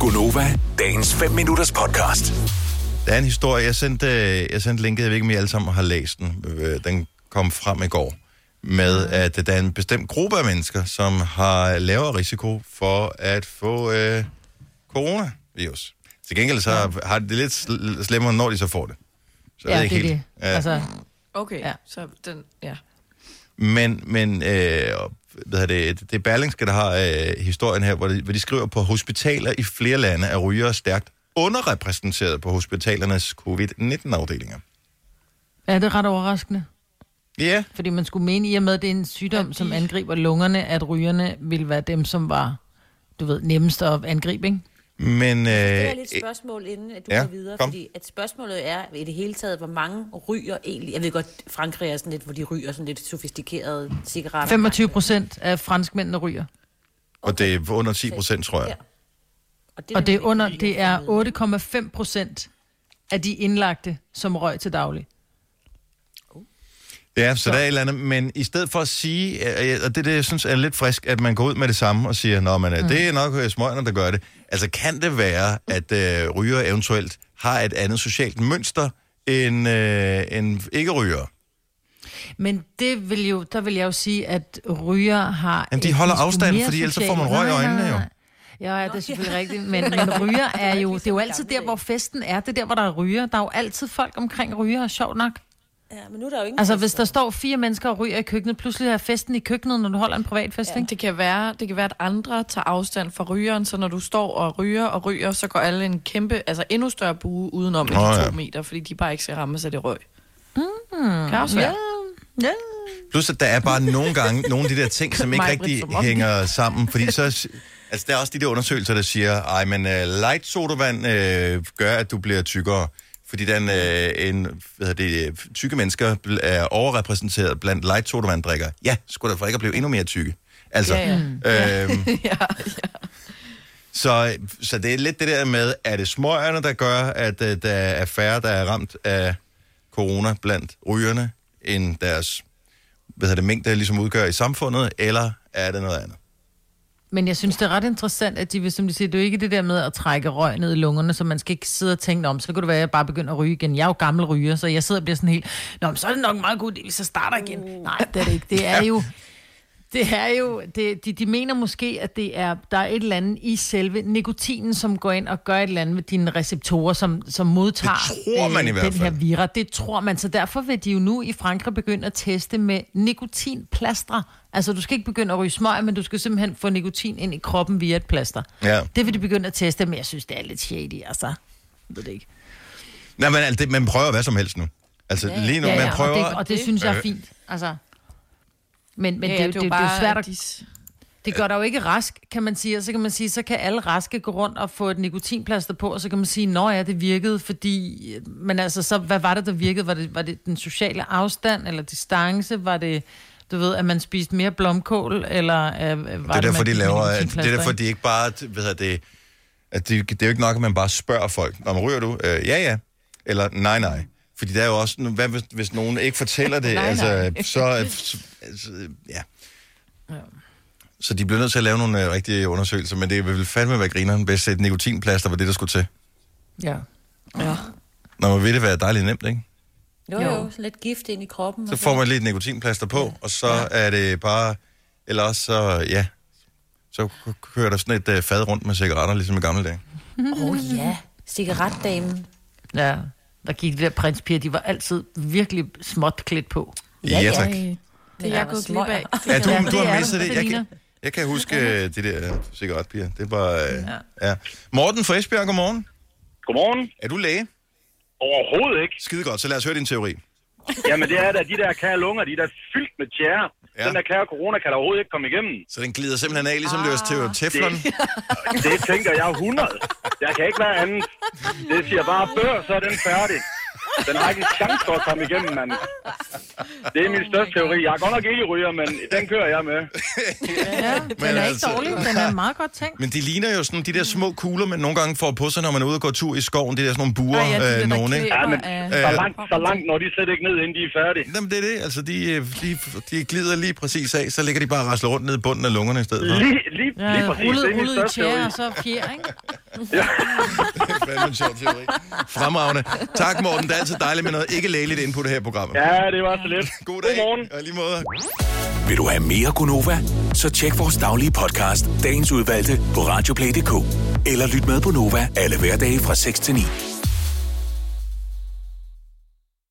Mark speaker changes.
Speaker 1: Gunova, dagens 5 minutters podcast.
Speaker 2: Der er en historie, jeg sendte, øh, jeg sendte linket, jeg ved ikke, om I alle sammen har læst den. Øh, Den kom frem i går med, at øh, der er en bestemt gruppe af mennesker, som har lavere risiko for at få øh, coronavirus. Til gengæld så har de det lidt sl- slemmere, når de så får det. Så jeg ved ikke
Speaker 3: Ja, det er det.
Speaker 2: helt. Ja.
Speaker 3: Altså,
Speaker 4: Okay,
Speaker 3: Ja.
Speaker 4: ja. så den, ja.
Speaker 2: Men, men øh, hvad hedder det, det er Berlingske, der har øh, historien her, hvor de, hvor de skriver på hospitaler i flere lande er rygere stærkt underrepræsenteret på hospitalernes covid-19-afdelinger.
Speaker 3: ja, det er ret overraskende.
Speaker 2: Ja, yeah.
Speaker 3: Fordi man skulle mene, i og med, at det er en sygdom,
Speaker 4: At de-
Speaker 3: som angriber lungerne, at rygerne ville være dem, som var, du ved, nemmest at angribe, ikke?
Speaker 2: men... Øh,
Speaker 5: Det er lidt et spørgsmål, inden at du
Speaker 2: ja,
Speaker 5: ja, går videre,
Speaker 2: kom.
Speaker 5: kom. fordi at spørgsmålet er i det hele taget, hvor mange ryger egentlig... Jeg ved godt, Frankrig er sådan lidt, hvor de ryger sådan lidt sofistikerede cigaretter.
Speaker 3: 25 procent af franskmændene ryger.
Speaker 2: Og det er under 10 procent, tror jeg.
Speaker 5: Ja. det,
Speaker 3: Og det er,
Speaker 5: nemlig
Speaker 3: under,
Speaker 5: ikke
Speaker 3: det er
Speaker 5: helt formidlet.
Speaker 3: 8,5 procent af de indlagte, som røg til daglig.
Speaker 2: Ja, så, der er et eller andet. Men i stedet for at sige, øh, øh, og det, er det jeg synes er lidt frisk, at man går ud med det samme og siger, Nå, men, mm. det er nok øh, smøgerne, der gør det. Altså, kan det være, at øh, ryger eventuelt har et andet socialt mønster end, øh, end ikke-ryger?
Speaker 3: Men det vil jo, der vil jeg jo sige, at ryger har...
Speaker 2: Jamen, de
Speaker 3: et
Speaker 2: holder
Speaker 3: desto
Speaker 2: afstand,
Speaker 3: mere
Speaker 2: fordi ellers så
Speaker 3: socialt-
Speaker 2: får man røg i
Speaker 3: Nej, nej,
Speaker 2: øjnene,
Speaker 3: nej,
Speaker 2: jo.
Speaker 3: nej. Ja, ja, det er selvfølgelig rigtigt, men, men ryger er jo, det er jo altid der, hvor festen er, det er der, hvor der er ryger. Der er jo altid folk omkring ryger, sjovt nok.
Speaker 5: Ja, men nu er der jo ingen
Speaker 3: Altså, hvis der står fire mennesker og ryger i køkkenet, pludselig er festen i køkkenet, når du holder en privatfest, ja. ikke?
Speaker 4: Det kan, være, det kan være, at andre tager afstand fra rygeren, så når du står og ryger og ryger, så går alle en kæmpe, altså endnu større bue udenom end
Speaker 2: Åh,
Speaker 4: de to
Speaker 2: ja.
Speaker 4: meter, fordi de bare ikke skal ramme sig det røg. Mm, kan også være.
Speaker 3: Ja.
Speaker 2: Plus, at der er bare nogle gange nogle af de der ting, som ikke
Speaker 4: Maj-Brit,
Speaker 2: rigtig
Speaker 4: som om.
Speaker 2: hænger sammen. Fordi så, altså, der er også de der undersøgelser, der siger, ej, men uh, light sodavand uh, gør, at du bliver tykkere. Fordi den, uh, en, hvad hedder det, øh, tykke mennesker bl- er overrepræsenteret blandt light sodavandrikker. Ja, skulle da for ikke at blive endnu mere tykke. Altså,
Speaker 4: Ja,
Speaker 2: ja. Øhm,
Speaker 4: ja.
Speaker 2: så, så det er lidt det der med, er det smøgerne, der gør, at uh, der er færre, der er ramt af corona blandt rygerne, end deres hvad hedder det, mængde, der ligesom udgør i samfundet, eller er det noget andet?
Speaker 3: Men jeg synes, det er ret interessant, at de vil, som de siger, det er jo ikke det der med at trække røg ned i lungerne, så man skal ikke sidde og tænke, om, så kunne det være, at jeg bare begynder at ryge igen. Jeg er jo gammel ryger, så jeg sidder og bliver sådan helt, Nå, men så er det nok en meget god idé, hvis jeg starter igen. Uh. Nej, det er det ikke. Det er jo... Det er jo, det, de, de mener måske, at det er, der er et eller andet i selve nikotinen, som går ind og gør et eller andet med dine receptorer, som, som modtager øh,
Speaker 2: Det tror man i hvert
Speaker 3: den her
Speaker 2: fald.
Speaker 3: vira. Det tror man, så derfor vil de jo nu i Frankrig begynde at teste med nikotinplastre. Altså, du skal ikke begynde at ryge smøg, men du skal simpelthen få nikotin ind i kroppen via et plaster.
Speaker 2: Ja.
Speaker 3: Det vil de begynde at teste, men jeg synes, det er lidt shady, altså. Jeg ved det ikke.
Speaker 2: Nej, men alt det, man prøver hvad som helst nu. Altså lige nu, ja, ja, man prøver...
Speaker 3: og, det, og det synes jeg er fint, altså. Men, men ja, det, det, det, det, det er jo svært at
Speaker 4: at...
Speaker 3: Det gør dig jo ikke rask, kan man sige. Og så kan man sige, så kan alle raske gå rundt og få et nikotinplaster på, og så kan man sige, nå ja, det virkede, fordi... Men altså, så hvad var det, der virkede? Var det, var det den sociale afstand, eller distance? Var det, du ved, at man spiste mere blomkål, eller øh, var det,
Speaker 2: det er derfor,
Speaker 3: man
Speaker 2: de
Speaker 3: fik
Speaker 2: laver... At, det
Speaker 3: nikotinplaster,
Speaker 2: er derfor,
Speaker 3: ikke?
Speaker 2: de ikke bare... Hvad hedder det, at det, det er jo ikke nok, at man bare spørger folk, når man ryger du? Øh, ja, ja. Eller nej, nej. Fordi der er jo også... nu- Hvad hvis, hvis nogen ikke fortæller det?
Speaker 4: Nej, nej.
Speaker 2: altså, så... er- så- Altså, ja. Så de bliver nødt til at lave nogle øh, rigtige undersøgelser, men det vil fandme være grineren, hvis et nikotinplaster var det, der skulle til.
Speaker 3: Ja.
Speaker 4: Ja.
Speaker 2: Når man vil det være dejligt nemt, ikke?
Speaker 5: Jo, jo, sådan lidt gift ind i kroppen.
Speaker 2: Så
Speaker 5: og
Speaker 2: får man lidt nikotinplaster på, og så er det bare... Eller også så, ja... Så k- kører der sådan et øh, fad rundt med cigaretter, ligesom i gamle dage.
Speaker 5: Åh oh, ja, cigaretdamen.
Speaker 3: ja. Der gik de der prinspiger, de var altid virkelig småt klædt på.
Speaker 2: Ja, ja tak.
Speaker 4: Det er jeg gået glip af.
Speaker 2: Ja, du,
Speaker 3: Ja,
Speaker 2: du
Speaker 3: det er
Speaker 2: har
Speaker 3: du.
Speaker 2: misset det.
Speaker 3: Det
Speaker 2: Jeg
Speaker 3: ligner.
Speaker 2: kan, jeg kan huske øh, de der øh, cigaretpiger. Det var... Øh, ja. Morten fra Esbjerg, godmorgen.
Speaker 6: Godmorgen.
Speaker 2: Er du læge?
Speaker 6: Overhovedet ikke.
Speaker 2: Skide godt, så lad os høre din teori.
Speaker 6: Jamen det er da de der kære lunger, de der fyldt med tjære.
Speaker 2: Ja.
Speaker 6: Ja. Den der kære corona kan der overhovedet ikke komme igennem.
Speaker 2: Så den glider simpelthen af, ligesom løs til teflon.
Speaker 6: Det tænker jeg 100. Jeg kan ikke være andet. Det siger bare bør, så er den færdig. Den har ikke en chance for at komme igennem, mand. Det er min største teori. Jeg er godt nok ikke ryger, men den kører jeg med.
Speaker 3: Ja, den
Speaker 2: Men
Speaker 3: er ikke
Speaker 2: altså-
Speaker 3: dårlig, den er meget godt tænkt.
Speaker 2: Men de ligner jo sådan de der små kugler, man nogle gange får på sig, når man er ude og går tur i skoven. Det er sådan nogle buer,
Speaker 4: Ej, ja, de der,
Speaker 2: ja,
Speaker 4: der
Speaker 2: øh, nogen, ikke?
Speaker 4: klæber
Speaker 6: Ja, men
Speaker 4: af-
Speaker 6: så langt, så langt når de slet ikke ned, inden de er færdige.
Speaker 2: Jamen, det er det. Altså, de, øh, de, de glider lige præcis af, så ligger de bare og rasler rundt ned i bunden af lungerne i stedet for.
Speaker 6: Lige, lige, lige
Speaker 3: Ja,
Speaker 6: præcis.
Speaker 3: rullet,
Speaker 6: det er min
Speaker 3: rullet i
Speaker 6: største teori.
Speaker 3: tjære, og så fjer, ikke?
Speaker 2: Det er fandme en sjov teori. Fremragende. Tak, Morten. Det er altid dejligt med noget ikke-lægeligt input her i programmet.
Speaker 6: Ja, det var så lidt.
Speaker 2: God dag.
Speaker 6: Godmorgen.
Speaker 2: Og i lige måde.
Speaker 1: Vil du have mere Gunova? Så tjek vores daglige podcast, dagens udvalgte, på radioplay.dk. Eller lyt med på Nova alle hverdage fra 6 til 9.